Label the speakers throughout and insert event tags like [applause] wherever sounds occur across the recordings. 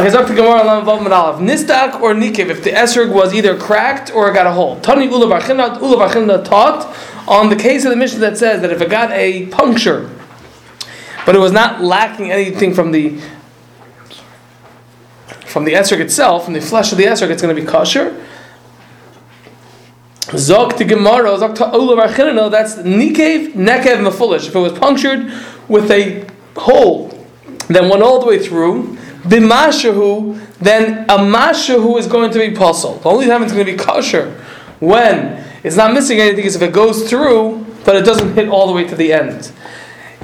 Speaker 1: Hezak the Gemara Lam Vav Mid Aleph. Nistak or Nikiv, if the Esrog was either cracked or got a hole. Tani Ula Bar Chilna- Ula Bar Chilna taught on the case of the mission that says that if it got a puncture, but it was not lacking anything from the from the Esrog itself, from the flesh of the Esrog, it's going to be kosher. Zok to Gemara, Zok to Ula Bar Chilna, that's Nikev, Nekev Mefulish. If it was punctured with a hole that went all the way through, bimashahu, then a mashahu is going to be puzzled. The only time it's going to be kosher when it's not missing anything is if it goes through, but it doesn't hit all the way to the end.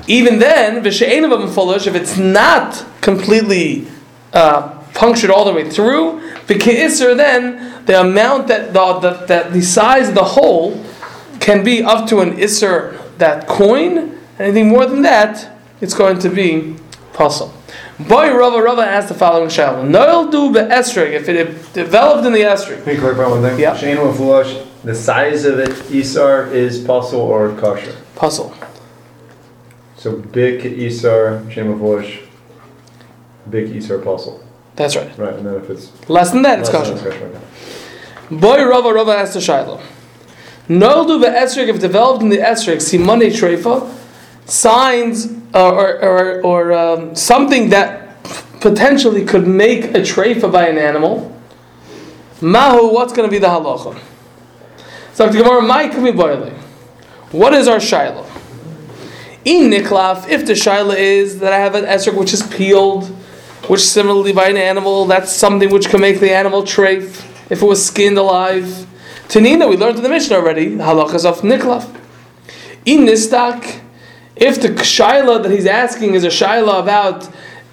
Speaker 1: Even then, v'she'enav mefulish, if it's not completely uh, punctured all the way through, v'ke'isr, then the amount that the, the, that the size of the hole can be up to an isser that coin. Anything more than that, it's going to be puzzle. Boy Rava Rava asked the following shaila: Noel du be'esrig if it developed in the esrig.
Speaker 2: Can you clarify one thing?
Speaker 1: Yeah.
Speaker 2: Shane and Flush, the size of it, Isar is possible or kosher.
Speaker 1: Puzzle.
Speaker 2: So big Isar, Shane and Flush, big Isar puzzle.
Speaker 1: That's right.
Speaker 2: Right, and then if it's
Speaker 1: Less than that, it's
Speaker 2: less than
Speaker 1: kosher.
Speaker 2: it's kosher.
Speaker 1: Boy Rava Rava asked the shaila: Noel du be'esrig if developed in the esrig simone treifa signs uh, or or, or um, something that potentially could make a treifa by an animal. Mahu, what's going to be the halacha? So the Gemara, my kumi boiling. What is our shiloh? In Niklaf, if the Shaila is that I have an esrog which is peeled, which similarly by an animal, that's something which can make the animal trafe if it was skinned alive. Tanina, we learned in the Mishnah already, halachas of Niklaf. In Nistak, if the Shaila that he's asking is a Shaila about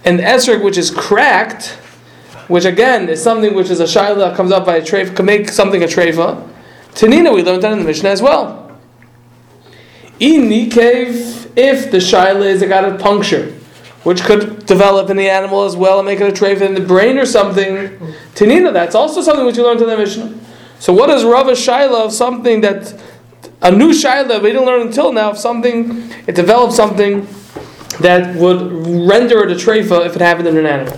Speaker 1: an esrog which is cracked, which again is something which is a Shaila that comes up by a trafe, can make something a treifa. Tanina, we learned that in the Mishnah as well. In Nikev, if the Shaila is it got a puncture, which could develop in the animal as well and make it a trait in the brain or something, Tanina, that's also something which you learned in the Mishnah. So what is Rava Shaila of something that a new Shaila we didn't learn until now of something it developed something that would render it a treifa if it happened in an animal.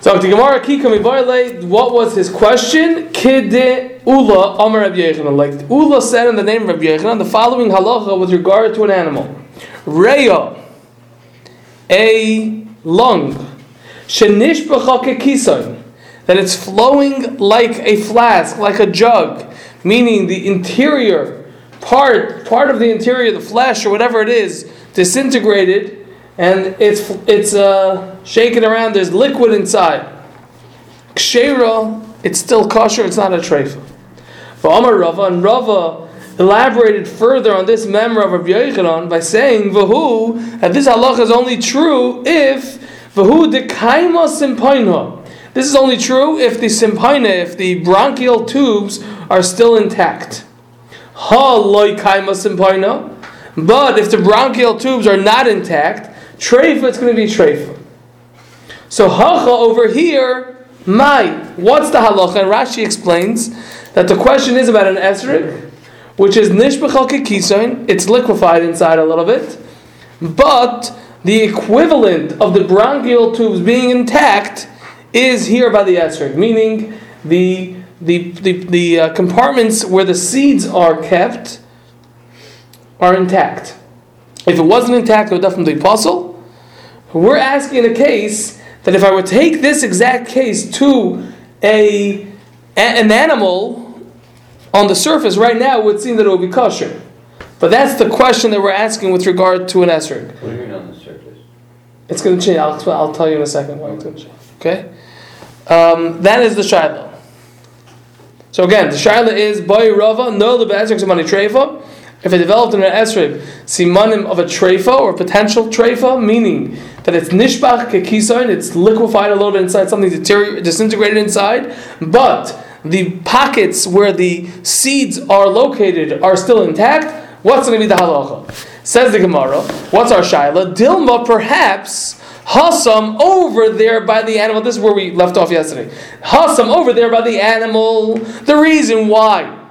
Speaker 1: So the Gemara Kikami Barley, what was his question? Kide Ula Amar Rabbi Yechanan. Like Ula said in the name of Rabbi Yechanan, the following halacha with regard to an animal. Reya, a lung, shenishbacha kekisan, that it's flowing like a flask, like a jug, meaning the interior part, part of the interior, the flesh or whatever it is, disintegrated, and it's it's uh, shaken around. There's liquid inside. Kshera, it's still kosher. It's not a treifa. V'amar Rava and Rava elaborated further on this member of Rabbi Yochanan by saying v'hu that this halacha is only true if v'hu dekaima simpainha. This is only true if the simpaina, if the bronchial tubes are still intact. Ha loy kaima simpaina. But if the bronchial tubes are not intact, treifa, it's going to be treifa. So hacha over here, my, what's the halacha? And Rashi explains that the question is about an esrik, which is nishbechal kikisoin, it's liquefied inside a little bit, but the equivalent of the bronchial tubes being intact is here by the esrik, meaning the, the, the, the uh, compartments where the seeds are kept are intact. If it wasn't intact, it would definitely be puzzle. We're asking a case that if I would take this exact case to a, a- an animal on the surface right now, it would seem that it would be kosher. But that's the question that we're asking with regard to an esrog.
Speaker 3: What do you mean on the surface?
Speaker 1: It's going to change. I'll, I'll tell you in a second why it's going to change. Okay? Um, that is the Shiloh. So again, the Shiloh is Boy Rava, no the Bezrek Simani Treifa. If it developed in an Esrib, Simanim of a Treifa or potential Treifa, meaning that it's Nishbach Kekisoin, it's liquefied a little bit inside, something deterior- disintegrated inside, but the pockets where the seeds are located are still intact. What's going to be the halacha? Says the Gemara. What's our shaila? Dilma, perhaps hasam over there by the animal. This is where we left off yesterday. Hasam over there by the animal. The reason why,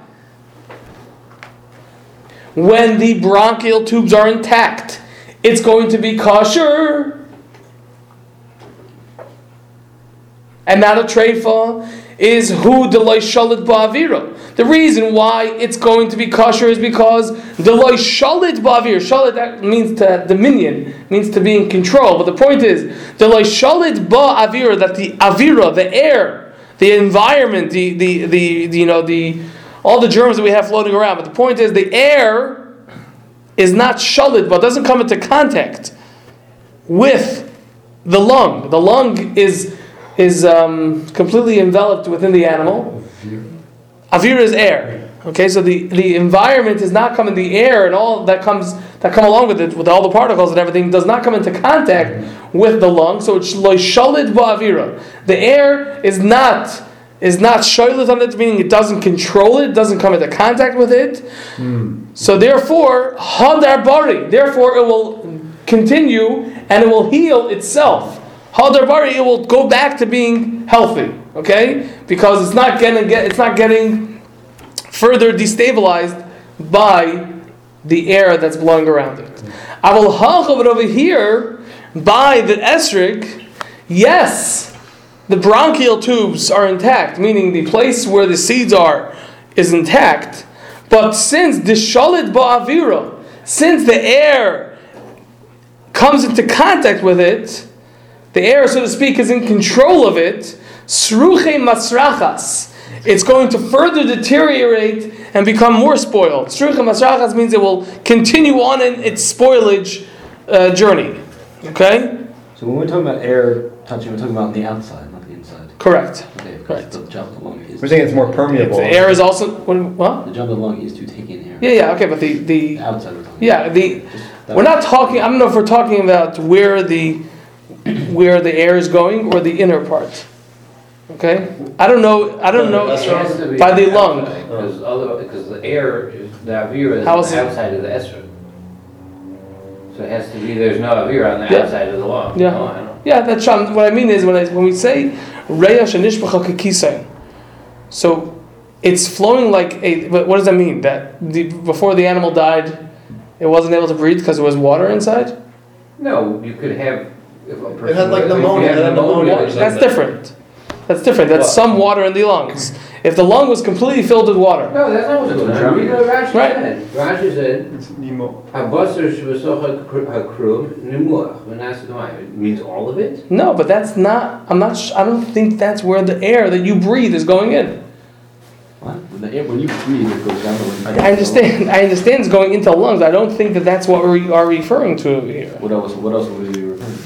Speaker 1: when the bronchial tubes are intact, it's going to be kosher. and not a treifa is who deloy shalit ba'avira. The reason why it's going to be kosher is because deloy shalit ba'avira. Shalit that means to dominion, means to be in control. But the point is deloy shalit ba'avira that the avira, the air, the environment, the, the the the you know the all the germs that we have floating around. But the point is the air is not shalit, but doesn't come into contact with the lung. The lung is is um, completely enveloped within the animal. Avir is air. Okay, so the, the environment is not coming. The air and all that comes that come along with it, with all the particles and everything, does not come into contact with the lung. So it's loishalit ba'avira. The air is not is not shoylit on it, meaning it doesn't control it, doesn't come into contact with it. So therefore, hadar bari. Therefore, it will continue and it will heal itself. Hadar bari, it will go back to being healthy. Okay, because it's not gonna get, it's not getting further destabilized by the air that's blowing around it. I will but over here by the esrik. Yes, the bronchial tubes are intact, meaning the place where the seeds are is intact. But since the shalit ba'avira, since the air comes into contact with it, the air, so to speak, is in control of it. Sruche masrachas. It's going to further deteriorate and become more spoiled. Sruche masrachas means it will continue on in its spoilage uh, journey. Okay,
Speaker 3: So when we're talking about air touching, we're talking about on the outside, not the inside.
Speaker 1: correct.
Speaker 3: Okay, because
Speaker 1: Right.
Speaker 3: the job of the lung is.
Speaker 2: We're saying it's more permeable.
Speaker 1: The air is also what? what?
Speaker 3: The job of the lung is to take in air.
Speaker 1: Yeah, yeah. Okay, but the
Speaker 3: The
Speaker 1: the
Speaker 3: outside. We're talking
Speaker 1: Yeah,
Speaker 3: about.
Speaker 1: the-
Speaker 3: Just that
Speaker 1: We're
Speaker 3: way.
Speaker 1: not talking. I don't know if we're talking about where the where the air is going or the inner part. Okay, I don't know. I don't know
Speaker 4: It has to be
Speaker 1: by the
Speaker 4: outside,
Speaker 1: lung.
Speaker 4: Because other, because the air is, the avir is
Speaker 1: How
Speaker 4: on
Speaker 1: is
Speaker 4: the
Speaker 1: it-
Speaker 4: outside of the esrog. So it has to be, there's no avir on the
Speaker 1: Yeah.
Speaker 4: outside of the lung.
Speaker 1: Yeah.
Speaker 4: No, I don't-
Speaker 1: Yeah, that's um, what I mean is when I, when we say reyash and nishpacha kikisayin, so it's flowing like a. But what does that mean? That the, before the animal died, it wasn't able to breathe because there was water inside.
Speaker 4: No, you could have. if a person-
Speaker 5: had, like,
Speaker 4: if you
Speaker 5: pneumonia,
Speaker 4: have
Speaker 5: it had pneumonia
Speaker 4: or
Speaker 5: or
Speaker 4: something.
Speaker 1: That's different. That's different. That's
Speaker 4: What?
Speaker 1: some water in the lungs. If the lung was completely filled with water,
Speaker 4: No, that's not what's going on. Read what Rashi
Speaker 1: Right.
Speaker 4: said. Rashi said,
Speaker 2: It's nemo.
Speaker 4: "Habasar shvasocha kr- hakrum nimuach v'nasadmai." It means all of it.
Speaker 1: no. But that's not. I'm not. sh- I don't think that's where the air that you breathe is going in.
Speaker 3: What? When the air, when you breathe, it goes down the lung.
Speaker 1: I understand. I understand it's going into the lungs. I don't think that that's what we are referring to here.
Speaker 3: What else? What else would we be referring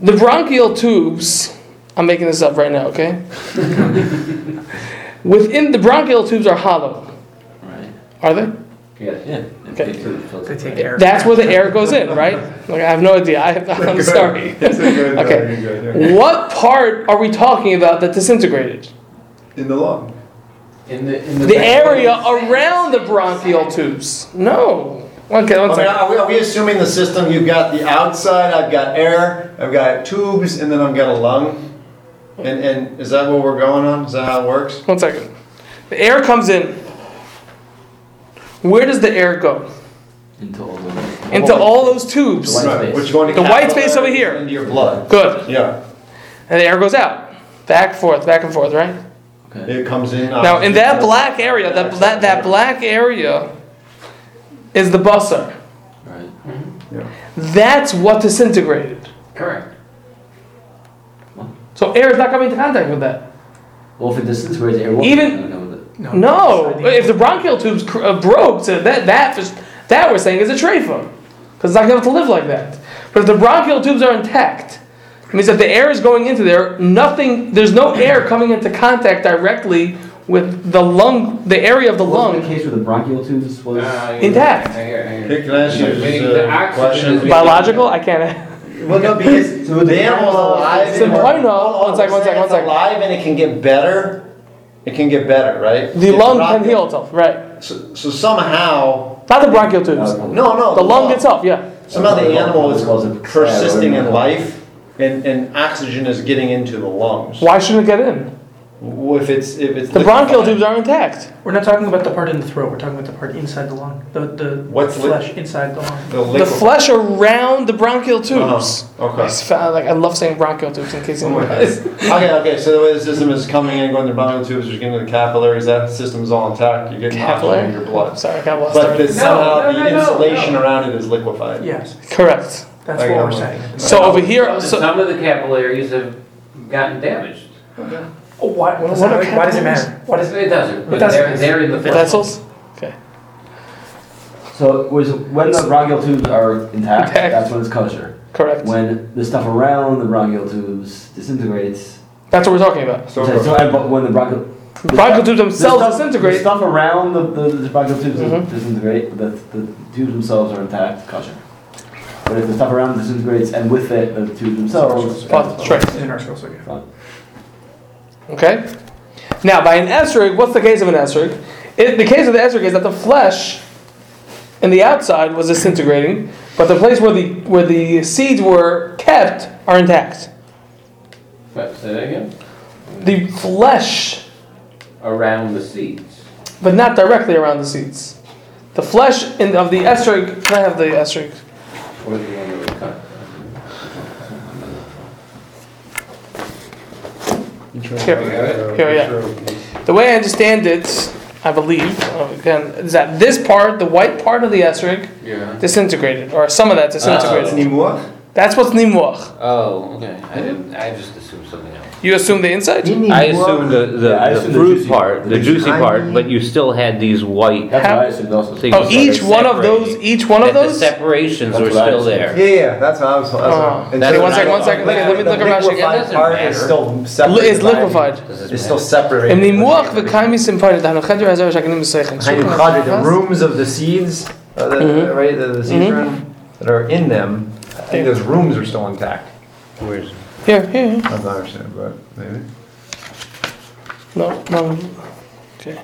Speaker 3: to?
Speaker 1: The bronchial tubes, I'm making this up right now, okay? Within the bronchial tubes are hollow,
Speaker 3: Right.
Speaker 1: are they?
Speaker 4: Yes.
Speaker 3: Yeah. and
Speaker 1: Okay.
Speaker 3: take- filter,
Speaker 6: They take
Speaker 3: right.
Speaker 6: air.
Speaker 1: That's where the air goes in, right? Like, I have no idea. I, I'm
Speaker 2: [laughs]
Speaker 1: sorry.
Speaker 2: It's a good,
Speaker 1: Okay.
Speaker 2: uh, good, yeah.
Speaker 1: What part are we talking about that disintegrated?
Speaker 2: In the lung.
Speaker 4: In the in the,
Speaker 1: The area around the bronchial tubes. No. Okay, one
Speaker 5: I mean,
Speaker 1: second.
Speaker 5: are we, are we assuming the system? You've got the outside. I've got air. I've got tubes, and then I've got a lung. And and is that what we're going on? Is that how it works?
Speaker 1: One second. The air comes in. Where does the air go?
Speaker 3: Into all the
Speaker 1: Into all those tubes.
Speaker 3: White space.
Speaker 5: Which is going to
Speaker 1: The white
Speaker 5: capillary
Speaker 1: space over here.
Speaker 5: Into your blood.
Speaker 1: Good.
Speaker 5: Yeah.
Speaker 1: And the air goes out. Back, forth, back and forth, right?
Speaker 3: Okay.
Speaker 5: It comes in. Uh,
Speaker 1: Now, in that black area, that, that, that black area is the busser.
Speaker 3: Right.
Speaker 1: That's what disintegrated.
Speaker 4: correct.
Speaker 1: So air is not coming into contact with that.
Speaker 3: Well, if it disintegrates, air won't
Speaker 1: Even-
Speaker 3: I don't know what the-
Speaker 1: No,
Speaker 6: inside the-
Speaker 1: if the bronchial tubes cr- uh, broke, so that that is- that we're saying is a trachea, because it's not going to live like that. But if the bronchial tubes are intact, it means that the air is going into there. Nothing, there's no air coming into contact directly with the lung, the area of the
Speaker 3: Wasn't
Speaker 1: lung.
Speaker 3: The case with the bronchial tubes was.
Speaker 4: Uh,
Speaker 1: Intact.
Speaker 4: I hear, I hear.
Speaker 5: Can I ask you
Speaker 4: Meaning
Speaker 5: just
Speaker 4: the
Speaker 5: a
Speaker 4: oxygen is
Speaker 5: uh, question?
Speaker 4: being-
Speaker 1: Biological, I can't.
Speaker 5: Well, no, [laughs] because
Speaker 3: So the
Speaker 5: the animal's alive.
Speaker 1: So
Speaker 5: and-
Speaker 1: why not?
Speaker 5: Hold on,
Speaker 1: One second, one
Speaker 5: we're saying
Speaker 1: second, one
Speaker 5: it's
Speaker 1: second.
Speaker 5: Alive and it can get better. It can get better, right?
Speaker 1: The
Speaker 5: If
Speaker 1: lung
Speaker 5: rock-
Speaker 1: can heal itself, right?
Speaker 5: So, so somehow,
Speaker 1: Not the bronchial tubes.
Speaker 3: Uh,
Speaker 5: no, no.
Speaker 1: The lung itself, yeah.
Speaker 5: Somehow the animal is persisting in life, and, and oxygen is getting into the lungs.
Speaker 1: Why shouldn't it get in?
Speaker 2: W- If it's if it's
Speaker 1: The bronchial
Speaker 2: combined-
Speaker 1: tubes are intact.
Speaker 6: We're not talking about the part in the throat. We're talking about the part inside the lung. The the
Speaker 2: What's li-
Speaker 6: flesh inside the lung.
Speaker 2: the
Speaker 1: The
Speaker 2: liquid.
Speaker 1: flesh around the bronchial tubes.
Speaker 2: Uh-huh, Okay.
Speaker 1: It's fa- like I love saying bronchial tubes in case
Speaker 2: Oh
Speaker 1: anyone
Speaker 2: my God.
Speaker 1: has.
Speaker 2: [laughs] okay, okay. So the way the system is coming in, going to the bronchial tubes, which is getting to the capillaries. That system's all intact. You're getting oxygen in your blood.
Speaker 1: Sorry, I got lost.
Speaker 2: But
Speaker 1: already.
Speaker 2: the, somehow
Speaker 4: no, no,
Speaker 2: the
Speaker 4: no,
Speaker 2: insulation
Speaker 4: no.
Speaker 2: around it is liquefied.
Speaker 6: Yes,
Speaker 1: Correct.
Speaker 6: that's
Speaker 2: I got
Speaker 6: what we're
Speaker 2: one.
Speaker 6: saying.
Speaker 1: So over here,
Speaker 4: But
Speaker 1: so
Speaker 4: Some of the capillaries have gotten damaged.
Speaker 6: Oh, why,
Speaker 1: What
Speaker 6: does that-
Speaker 1: are
Speaker 6: why does it
Speaker 1: capillaries?
Speaker 6: matter? What is it?
Speaker 4: It doesn't, but
Speaker 6: doesn't.
Speaker 4: they're, they're in the.
Speaker 1: the
Speaker 4: flesh.
Speaker 1: vessels.
Speaker 3: So it was when the bronchial tubes are intact,
Speaker 1: Intact.
Speaker 3: that's when it's kosher.
Speaker 1: Correct.
Speaker 3: When the stuff around the bronchial tubes disintegrates,
Speaker 1: That's what we're talking about.
Speaker 2: So
Speaker 3: so I- but when the bronchial the
Speaker 1: Bronchial
Speaker 3: stuff-
Speaker 1: tubes
Speaker 3: the stuff-
Speaker 1: themselves
Speaker 3: the
Speaker 1: disintegrate.
Speaker 3: stuff around the, the, the bronchial tubes
Speaker 1: Mhm.
Speaker 3: disintegrate, but the, the tubes themselves are intact, kosher. But if the stuff around disintegrates and with it the tubes themselves,
Speaker 1: Fine, sure.
Speaker 6: It's in our soul, so yeah.
Speaker 1: Okay? Now, by an esrog, what's the case of an esrog? It, the case of the esrog is that the flesh in the outside was disintegrating, but the place where the, where the seeds were kept are intact.
Speaker 4: But, say that again?
Speaker 1: The flesh,
Speaker 4: Around the seeds.
Speaker 1: but not directly around the seeds. The flesh in, of the esrog, can I have the esrog?
Speaker 4: Or the one that was cut.
Speaker 1: Here we
Speaker 2: go.
Speaker 1: Here we are. The way I understand it, I believe, uh, again, is that this part, the white part of the esrog,
Speaker 4: Yeah.
Speaker 1: disintegrated, or some of that disintegrated.
Speaker 2: It's
Speaker 5: Ah.
Speaker 2: Nimua?
Speaker 1: That's what's nimuach.
Speaker 4: Oh, okay. I didn't, I just assumed something else.
Speaker 1: You assume the inside?
Speaker 7: I assumed the, the,
Speaker 3: Yeah, I
Speaker 7: the
Speaker 3: assumed the
Speaker 7: fruit
Speaker 3: juicy-
Speaker 7: part, the
Speaker 3: the
Speaker 7: juicy
Speaker 5: juicy-
Speaker 7: part, but you still had these white
Speaker 3: that's
Speaker 1: How-
Speaker 3: what I assumed also.
Speaker 7: things.
Speaker 1: Oh,
Speaker 7: that
Speaker 1: each
Speaker 7: are
Speaker 1: one of those,
Speaker 7: separating,
Speaker 1: each one of
Speaker 7: that the
Speaker 1: those?
Speaker 7: separations
Speaker 3: That's
Speaker 7: were
Speaker 3: what I
Speaker 7: still there.
Speaker 3: assumed.
Speaker 5: Yeah, yeah, that's how I was. That's
Speaker 1: Oh.
Speaker 5: how, and
Speaker 7: That's
Speaker 5: so
Speaker 7: what I
Speaker 1: One second,
Speaker 5: the-
Speaker 1: one second, let me
Speaker 5: the
Speaker 1: look at Rashi again.
Speaker 5: liquefied part is still
Speaker 1: Li-
Speaker 5: separated.
Speaker 1: Is liquefied.
Speaker 4: Does
Speaker 5: It's
Speaker 4: this
Speaker 5: still
Speaker 4: matter?
Speaker 5: separated.
Speaker 1: Im nimuach v'kaimi simponet, hanu chedra hazar shakanim v'seichen.
Speaker 5: Hainu chadra, the rooms of the seeds, uh, that-
Speaker 1: Mhm.
Speaker 5: right? The, the seeds
Speaker 1: Mhm.
Speaker 5: are in, that are in them. I think those rooms are still intact.
Speaker 7: Where's-
Speaker 1: Here, here, here.
Speaker 5: I'm not understanding, but maybe.
Speaker 1: No, no. Okay.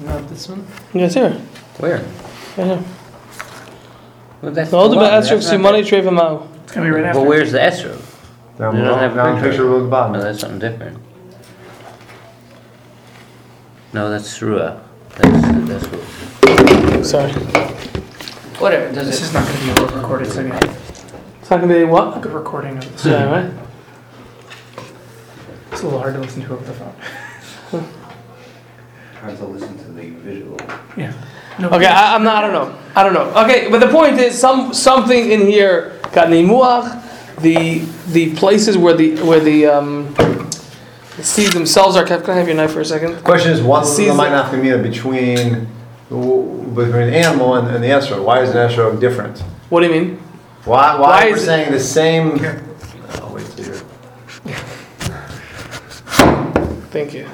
Speaker 6: Not this one.
Speaker 1: Yes, here.
Speaker 7: Where?
Speaker 1: Right here.
Speaker 7: Well, that's
Speaker 1: All the
Speaker 7: one,
Speaker 1: ba'asrik
Speaker 7: that's not
Speaker 1: simoni treva ma'u.
Speaker 6: It's gonna be right
Speaker 7: that.
Speaker 6: after.
Speaker 7: Well, where's the esrog?
Speaker 5: Down
Speaker 7: You don't
Speaker 5: below,
Speaker 7: have a
Speaker 5: down
Speaker 7: picture.
Speaker 5: picture below the bottom.
Speaker 7: Oh, No, that's something different. No, that's Srua. That's, that's what.
Speaker 1: Sorry.
Speaker 4: Whatever, does
Speaker 6: This
Speaker 4: it?
Speaker 6: is not gonna be a recorded, so yeah.
Speaker 1: It's not gonna be what?
Speaker 6: A good recording of this.
Speaker 1: Yeah, right?
Speaker 6: It's a little hard to listen to over the phone.
Speaker 4: Hard to listen to the visual.
Speaker 6: Yeah. No,
Speaker 1: Okay, I, I'm not. I don't know. I don't know. Okay, but the point is, some something in here got nimuach, the the places where the where the um, the seeds themselves are kept. Can I have your knife for a second?
Speaker 5: Question is, what's the
Speaker 1: Season-
Speaker 5: lamina between w- between the animal and, and the esrog? Why is an esrog different?
Speaker 1: What do you mean?
Speaker 5: Why why,
Speaker 1: Why
Speaker 5: we're
Speaker 1: is it-
Speaker 5: saying the same? Oh wait, dear.
Speaker 1: Thank you.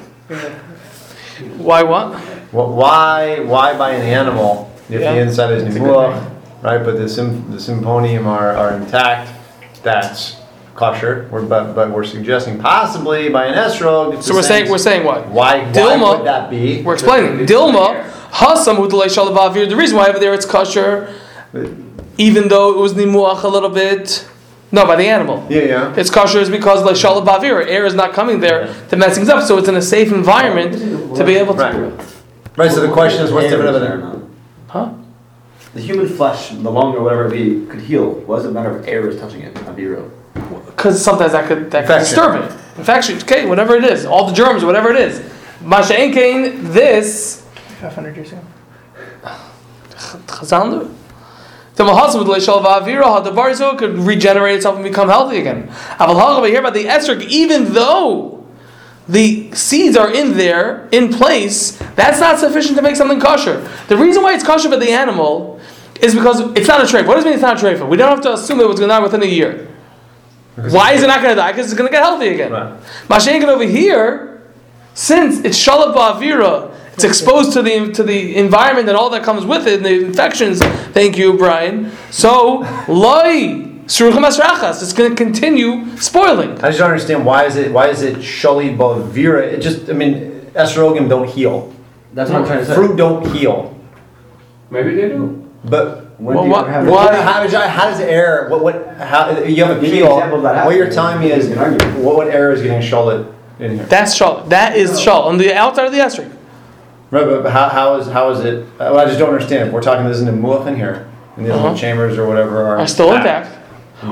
Speaker 1: Why what?
Speaker 5: Wh- Why why buy an animal if
Speaker 1: Yeah.
Speaker 5: the inside is
Speaker 1: That's a good
Speaker 5: nimua, right? But the sym, the symponium are, are intact. That's kosher. We're, but but we're suggesting possibly by an esrog. It's
Speaker 1: So
Speaker 5: the
Speaker 1: we're
Speaker 5: same-
Speaker 1: saying we're saying what?
Speaker 5: why why
Speaker 1: Dilma-
Speaker 5: would that be?
Speaker 1: We're explaining. Dilma hasam hudelei shalavavir. The reason why over there it's kosher, even though it was nimuach a little bit. No, by the animal.
Speaker 5: Yeah yeah.
Speaker 1: It's kosher is because like shalavavir, air is not coming there to mess things up. So it's in a safe environment to be able to.
Speaker 5: Right. Right. So the question is, what's different of an
Speaker 1: Huh?
Speaker 3: The human flesh, the lung or whatever it be, could heal. Why does it matter if air was touching it? I'd be real.
Speaker 1: Because sometimes that could that could disturb
Speaker 5: Infection.
Speaker 1: it. Infection, okay, whatever it is, all the germs, whatever it is. Masha Enkain, this
Speaker 6: Five hundred years ago.
Speaker 1: Chazandu. The Mahasam with Leishal Vavira, how the Barzo could regenerate itself and become healthy again. Aval Hagaba here about the Esrik, even though the seeds are in there, in place, that's not sufficient to make something kosher. The reason why it's kosher for the animal is because it's not a treifa. What does it mean it's not a treifa? We don't have to assume it was going to die within a year. Why is it not going to die? Because it's going to get healthy again.
Speaker 5: Right.
Speaker 1: Mashenkin over here, since it's shalab ba'avira, it's exposed to the to the environment and all that comes with it, and the infections. Thank you, Brian. So loy suruchim asrachas. It's going to continue spoiling.
Speaker 5: I just don't understand why is it why is it Shali Bavira? It just I mean esrogum don't heal.
Speaker 3: That's what I'm trying to say.
Speaker 5: Fruit don't heal.
Speaker 4: Maybe they do.
Speaker 5: But
Speaker 3: When
Speaker 1: Well,
Speaker 3: do you
Speaker 1: what-
Speaker 3: ever have a-
Speaker 1: what-
Speaker 5: Well, no, how does how does air? What what? How you have a
Speaker 3: Give me an
Speaker 5: keel?
Speaker 3: example of that
Speaker 5: What you're
Speaker 3: happening.
Speaker 5: telling me is
Speaker 3: You can argue.
Speaker 5: what what air is getting shallot in here?
Speaker 1: That's shal. That is shal on the outside of the asterisk.
Speaker 5: Right, but but how, how is how is it? uh, Well, I just don't understand. We're talking there's an emuach in here, and the
Speaker 1: Uh-huh.
Speaker 5: little chambers or whatever are
Speaker 1: Are still intact.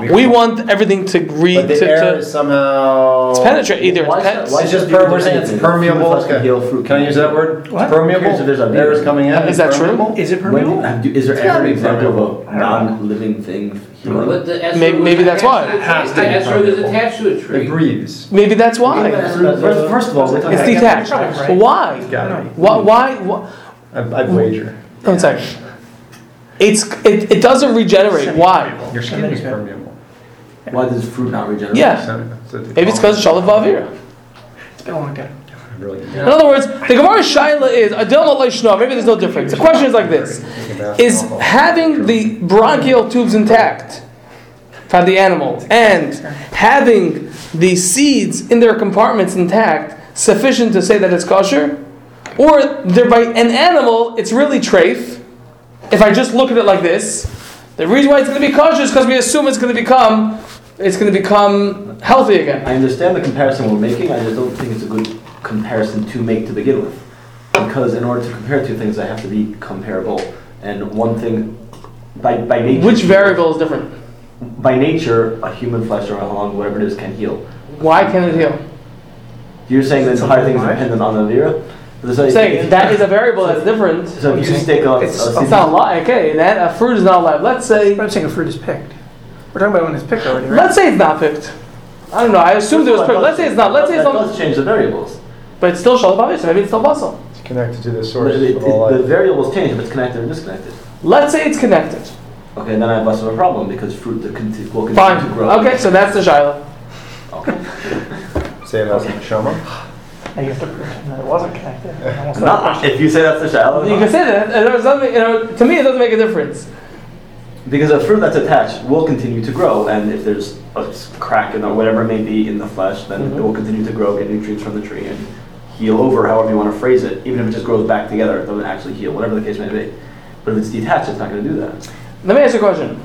Speaker 1: We want everything to read
Speaker 5: But
Speaker 1: to,
Speaker 5: the air is
Speaker 1: to
Speaker 5: somehow.
Speaker 1: it's penetrate either. It's
Speaker 3: Why is that-
Speaker 1: pen-
Speaker 3: why
Speaker 5: It's just
Speaker 3: Why should
Speaker 5: per, we're saying it's
Speaker 3: people do
Speaker 5: permeable.
Speaker 3: anything? Fruit must be healed
Speaker 5: Okay.
Speaker 3: fruit.
Speaker 5: Can I use that word?
Speaker 6: What?
Speaker 5: It's permeable.
Speaker 3: Curious if there's a
Speaker 5: air is coming in.
Speaker 1: Is that
Speaker 5: it's
Speaker 1: true?
Speaker 5: permeable?
Speaker 6: Is it
Speaker 3: When,
Speaker 6: permeable?
Speaker 3: have- do- is there
Speaker 5: gotta
Speaker 3: ever
Speaker 5: be
Speaker 3: an example of
Speaker 5: permeable.
Speaker 3: a non-living thing healing?
Speaker 4: But the esrog
Speaker 1: Maybe-
Speaker 4: was
Speaker 1: maybe that's why.
Speaker 4: attached to the tree.
Speaker 5: Has to be
Speaker 4: The esrog is
Speaker 5: permeable.
Speaker 4: attached to a
Speaker 5: It
Speaker 4: tree.
Speaker 5: breathes.
Speaker 1: maybe that's why.
Speaker 3: First first of all, we're
Speaker 1: It's
Speaker 3: talking-
Speaker 1: detached.
Speaker 6: Right.
Speaker 1: Why?
Speaker 5: Got it.
Speaker 1: Why? Why? why
Speaker 5: I, I'd wager.
Speaker 1: I'm sorry. It's it, it doesn't regenerate. Why?
Speaker 5: Your skin is
Speaker 6: Semi-permeable.
Speaker 5: permeable.
Speaker 3: why does fruit not regenerate?
Speaker 1: Yeah. Maybe it's because of Shalom Vavira.
Speaker 6: It's been a long time.
Speaker 5: Really.
Speaker 1: In other words, the Gemara Shaila is Adil Alay Shno. Maybe there's no difference. The question is like this: Is having the bronchial tubes intact from the animal and having the seeds in their compartments intact sufficient to say that it's kosher, or thereby an animal it's really treif? If I just look at it like this, the reason why it's going to be kosher is because we assume it's going to become it's going to become healthy again.
Speaker 3: I understand the comparison we're making, I just don't think it's a good comparison to make to begin with. Because in order to compare two things, they have to be comparable. And one thing, by, by nature.
Speaker 1: Which variable is different?
Speaker 3: By nature, a human flesh or a lung, whatever it is, can heal.
Speaker 1: Why can it heal?
Speaker 3: You're saying the entire thing is dependent on the vira?
Speaker 1: I'm saying that is a variable that's different. It's
Speaker 3: So if you take a. a
Speaker 6: It's- it's
Speaker 1: not alive. Okay, that a fruit is not alive. Let's say,
Speaker 6: But I'm saying a fruit is picked. We're talking about when it's picked already, right?
Speaker 1: let's say it's not picked. I don't know. I assumed it was picked. Let's say it's not. Let's say it's
Speaker 3: That
Speaker 1: not.
Speaker 3: does change the variables.
Speaker 1: But it's still shalabavir, so maybe it's still muscle.
Speaker 5: It's connected to the
Speaker 3: The,
Speaker 5: source
Speaker 3: the,
Speaker 5: of all
Speaker 3: the
Speaker 5: life.
Speaker 3: variables change if it's connected or disconnected.
Speaker 1: Let's say it's connected.
Speaker 3: Okay, then I have less of a problem because fruit that conti- will continue
Speaker 1: Fine.
Speaker 3: to grow.
Speaker 1: Okay, so that's the shiloh.
Speaker 5: Say it as a shama.
Speaker 6: Now you have to prove that it wasn't connected. I almost thought-
Speaker 3: Not, if you say that's the shallow.
Speaker 1: You can say that. and there's nothing- you know, to me, it doesn't make a difference.
Speaker 3: Because a fruit that's attached will continue to grow, and if there's a s- crack in or whatever it may be in the flesh, then
Speaker 1: Mm-hmm.
Speaker 3: it will continue to grow, get nutrients from the tree, and heal over, however you want to phrase it. Even if it just grows back together, it doesn't actually heal, whatever the case may be. But if it's detached, it's not going to do that.
Speaker 1: Let me ask you a question.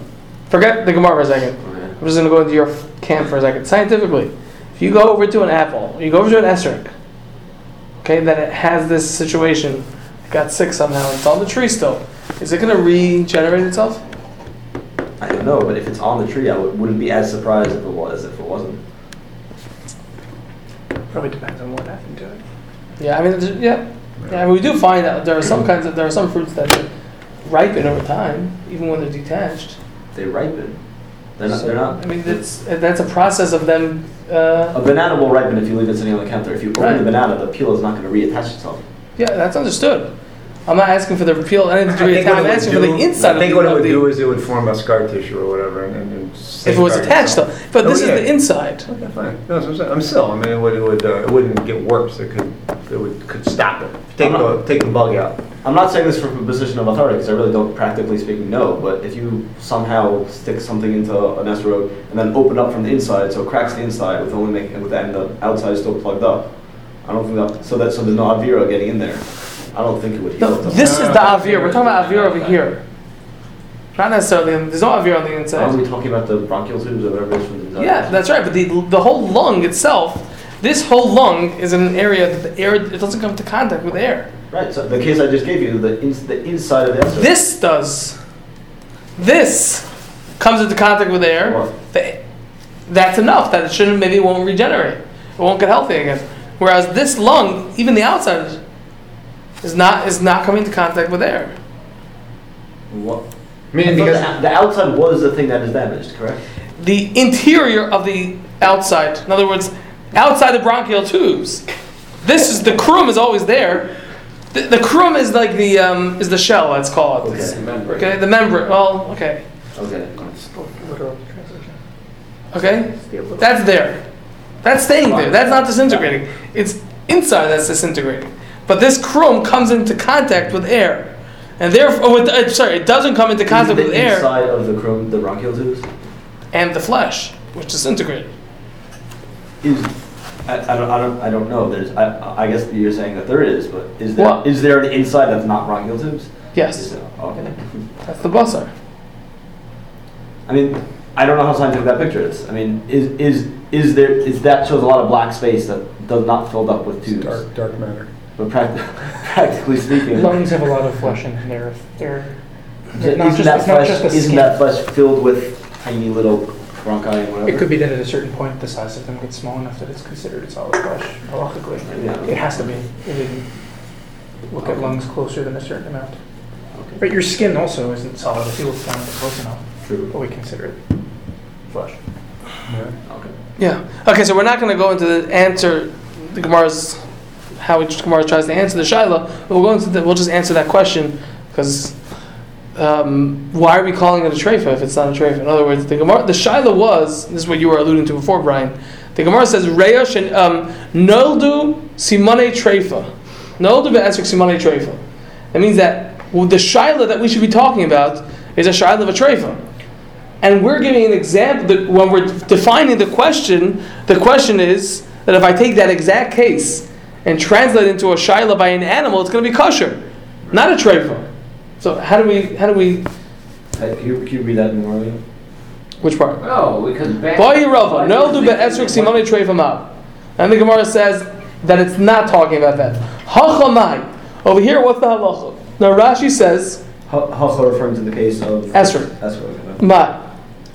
Speaker 1: Forget the Gemara for a second.
Speaker 3: Okay.
Speaker 1: I'm just going to go into your camp for a second. Scientifically, if you go over to an apple, you go over to an esteric, okay, then it has this situation. It got sick somehow. It's on the tree still. Is it going to regenerate itself?
Speaker 3: I don't know, but if it's on the tree, I w- wouldn't be as surprised if it was if it wasn't.
Speaker 6: Probably depends on what happened to it.
Speaker 1: Yeah, I mean, there's- yeah, yeah. We do find that there are some kinds of there are some fruits that ripen over time, even when they're detached.
Speaker 3: They ripen. They're not.
Speaker 1: So,
Speaker 3: They're not.
Speaker 1: I mean, that's that's a process of them. Uh,
Speaker 3: a banana will ripen if you leave it sitting on the counter. If you open
Speaker 1: Right.
Speaker 3: the banana, the peel is not going to reattach itself.
Speaker 1: yeah, that's understood. I'm not asking for the repeal anything to
Speaker 5: I
Speaker 1: be attached.
Speaker 5: think
Speaker 1: I'm
Speaker 5: what it would
Speaker 1: asking for the
Speaker 5: do-
Speaker 1: inside
Speaker 5: I think
Speaker 1: of
Speaker 5: what
Speaker 1: the,
Speaker 5: it would
Speaker 1: of the
Speaker 5: do is it would form a scar tissue or whatever, and, and, and
Speaker 1: if it was attached though. But
Speaker 5: Oh,
Speaker 1: this
Speaker 5: yeah.
Speaker 1: is the inside.
Speaker 5: Okay, fine. No, that's what I'm saying. I'm still. I mean, it would, it would, uh, it wouldn't get worse. It could, it would, could stop it. Take
Speaker 1: Uh-huh.
Speaker 5: the, take the bug out.
Speaker 3: I'm not saying this from a position of authority because I really don't practically speaking know, but if you somehow stick something into an S road and then open up from the inside, so it cracks the inside with only making with the end the outside is still plugged up. I don't think that so that so there's no avira getting in there. I don't think it would heal.
Speaker 1: No,
Speaker 3: itself.
Speaker 1: this is the avir. We're talking about avir over here. Not necessarily. There's no avir on the
Speaker 3: Are
Speaker 1: inside.
Speaker 3: we talking about the bronchial tubes or whatever it is from the inside?
Speaker 1: Yeah, that's right. But the the whole lung itself, this whole lung is in an area that the air it doesn't come into contact with air.
Speaker 3: right. So the case I just gave you, the ins- the inside of the S road.
Speaker 1: This does. This comes into contact with air.
Speaker 3: What?
Speaker 1: Th- That's enough. That it shouldn't. Maybe it won't regenerate. It won't get healthy again. Whereas this lung, even the outside, is not is not coming into contact with air.
Speaker 3: What?
Speaker 5: Meaning
Speaker 3: I thought
Speaker 5: because
Speaker 3: the, the outside was the thing that is damaged, correct?
Speaker 1: The interior of the outside. In other words, outside the bronchial tubes. This is the crum is always there. The, the crum is like the um, is the shell. Let's call it. It's-
Speaker 4: Remember.
Speaker 1: okay. The membrane. Well, okay.
Speaker 3: Okay.
Speaker 6: Literal translation.
Speaker 1: Okay.
Speaker 6: It's the little-
Speaker 1: That's there. That's staying there. That's not disintegrating. It's inside that's disintegrating. But this chrome comes into contact with air, and therefore, with, uh, sorry, it doesn't come into contact
Speaker 3: the
Speaker 1: with air
Speaker 3: inside of the chrome, the bronchial tubes
Speaker 1: and the flesh, which disintegrated.
Speaker 3: is. I, I don't. I don't. I don't know. There's. I, I guess you're saying that there is, but is there? Is
Speaker 1: What?
Speaker 3: there an inside that's not bronchial tubes? Is
Speaker 1: Yes,
Speaker 3: there- Okay.
Speaker 1: that's the basar.
Speaker 3: I mean, I don't know how scientific that picture is. I mean, is, is, is there, is that shows a lot of black space that does not filled up with tubes.
Speaker 8: Dark, dark matter.
Speaker 3: But prac- [laughs] practically speaking,
Speaker 6: Lungs have a lot of flesh in their, their,
Speaker 3: isn't
Speaker 6: not just-
Speaker 3: that
Speaker 6: it's not just
Speaker 3: flesh,
Speaker 6: the
Speaker 3: isn't
Speaker 6: skin.
Speaker 3: that flesh filled with tiny little bronchi and
Speaker 6: it
Speaker 3: whatever?
Speaker 6: could be that at a certain point, the size of them gets small enough that it's considered a solid flesh, halachically.
Speaker 3: Yeah.
Speaker 6: It has to be, They didn't look at lungs closer than a certain amount.
Speaker 3: Okay.
Speaker 6: But your skin also isn't solid if you look down at it close enough,
Speaker 3: True.
Speaker 6: but we consider it flesh.
Speaker 3: Okay.
Speaker 1: Yeah. Okay, so we're not going to go into the answer, the Gemara's, how each Gemara tries to answer the Shiloh, but we'll, go into the, we'll just answer that question because um, why are we calling it a treifa if it's not a treifa? In other words, the Gemara, the Shiloh was, this is what you were alluding to before, Brian. The Gemara says, Reish and um, Noldu Simone Treifa. Noldu Be'esrik Simone Treifa. That means that well, the Shiloh that we should be talking about is a Shiloh of a treifa. And we're giving an example that when we're defining the question, the question is that if I take that exact case and translate it into a shiloh by an animal, it's going to be kosher, not a treifa. So how do we? How do we?
Speaker 3: Uh, Can you, can you read that in more?
Speaker 1: Which part?
Speaker 4: No, Oh, because back.
Speaker 1: Boy Rava, no du be esrik simone treifa ma. And the Gemara says that it's not talking about that. Hachamai. Over here, what's the halacha? Now Rashi says
Speaker 3: Halacha referring to the case of
Speaker 1: esrik.
Speaker 3: That's what we're gonna.
Speaker 1: But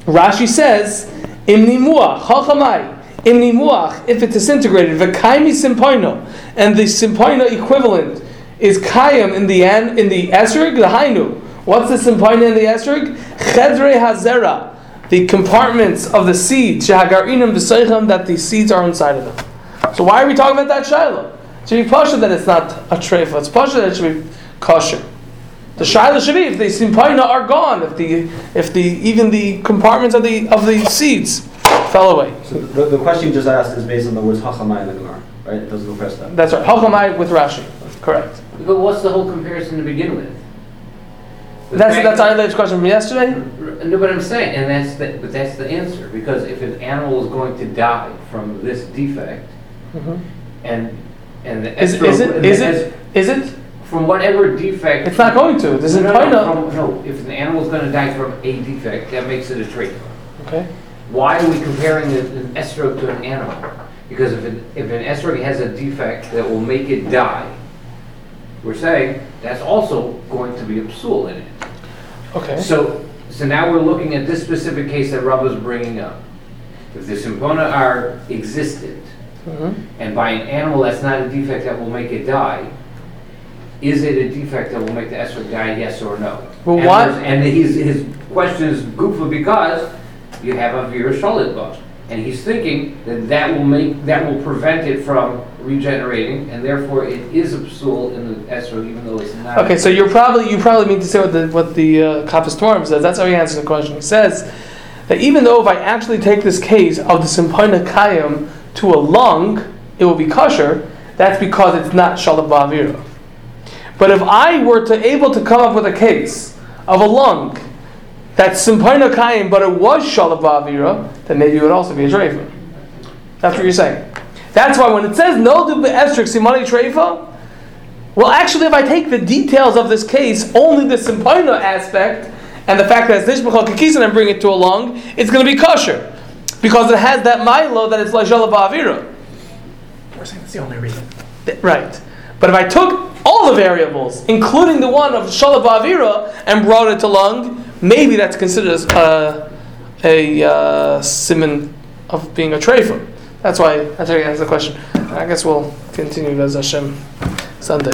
Speaker 1: Rashi says, "Im nimuach hachamai im nimuach if it disintegrated v'kaimi simpoino and the simpoino equivalent is kayim in the an, in the esrig the hainu. What's the simpoino in the esrig? Chedre hazera, the compartments of the seed shehagarinim v'soichem that the seeds are inside of them. So why are we talking about that shiloh? It should be pasha that it's not a treifa. It's pasha that it should be kosher. The shiloh should be if the simpaina are gone, if the if the even the compartments of the of the seeds fell away.
Speaker 3: So the, the question you just asked is based on the words hachamai in the Gemara, right? It doesn't repress that.
Speaker 1: That's right. Hakamai with Rashi. Correct.
Speaker 4: But what's the whole comparison to begin with? The
Speaker 1: That's
Speaker 4: fact
Speaker 1: that's
Speaker 4: that-
Speaker 1: our latest question from yesterday.
Speaker 4: No, but I'm saying, and that's the, but that's the answer, because if an animal is going to die from this defect, and, and the
Speaker 1: Mm-hmm. Is
Speaker 4: extra-
Speaker 1: is it
Speaker 4: and
Speaker 1: is
Speaker 4: the
Speaker 1: it is it?
Speaker 4: ex- From whatever defect.
Speaker 1: It's not going to. The
Speaker 4: No, no,
Speaker 1: simpaina.
Speaker 4: no, from- No, if an animal's gonna die from a defect, that makes it a trait.
Speaker 1: Okay.
Speaker 4: Why are we comparing an an esrog to an animal? Because if an, if an esrog has a defect that will make it die, we're saying that's also going to be a psul in it.
Speaker 1: Okay.
Speaker 4: So, so now we're looking at this specific case that Rabba's bringing up. If the sympona are existent,
Speaker 1: Mm-hmm.
Speaker 4: and by an animal that's not a defect that will make it die, is it a defect that will make the esrog die, yes or no?
Speaker 1: Well,
Speaker 4: And
Speaker 1: why-
Speaker 4: there's- And his, his question is goofy because you have a Vira Shalit bug. And he's thinking that that will make, that will prevent it from regenerating, and therefore it is a psul in the esrog, even though it's not.
Speaker 1: Okay, so you're probably you probably mean to say what the what the uh, Kappas Torm says. That's how he answers the question. He says that even though if I actually take this case of the Simpoina Kayim to a lung, it will be kosher. That's because it's not Shalab Ba'avira. But if I were to able to come up with a case of a lung that's Simpoina Kayim, but it was Shalab Ba'avira, then maybe it would also be a Dreifa. That's what you're saying. That's why when it says no to the Estrix, Simani Treifa, well, actually, if I take the details of this case, only the simpoina aspect and the fact that it's nishbachal kikis and I bring it to along, it's going to be kosher because it has that milo that it's lajala ba'avira.
Speaker 6: We're saying that's the only reason.
Speaker 1: Th- Right. But if I took all the variables, including the one of shala ba'avira, and brought it to lung, maybe that's considered a, a uh, simon of being a treifa. That's why I think that's the question. I guess we'll continue as Hashem Sunday.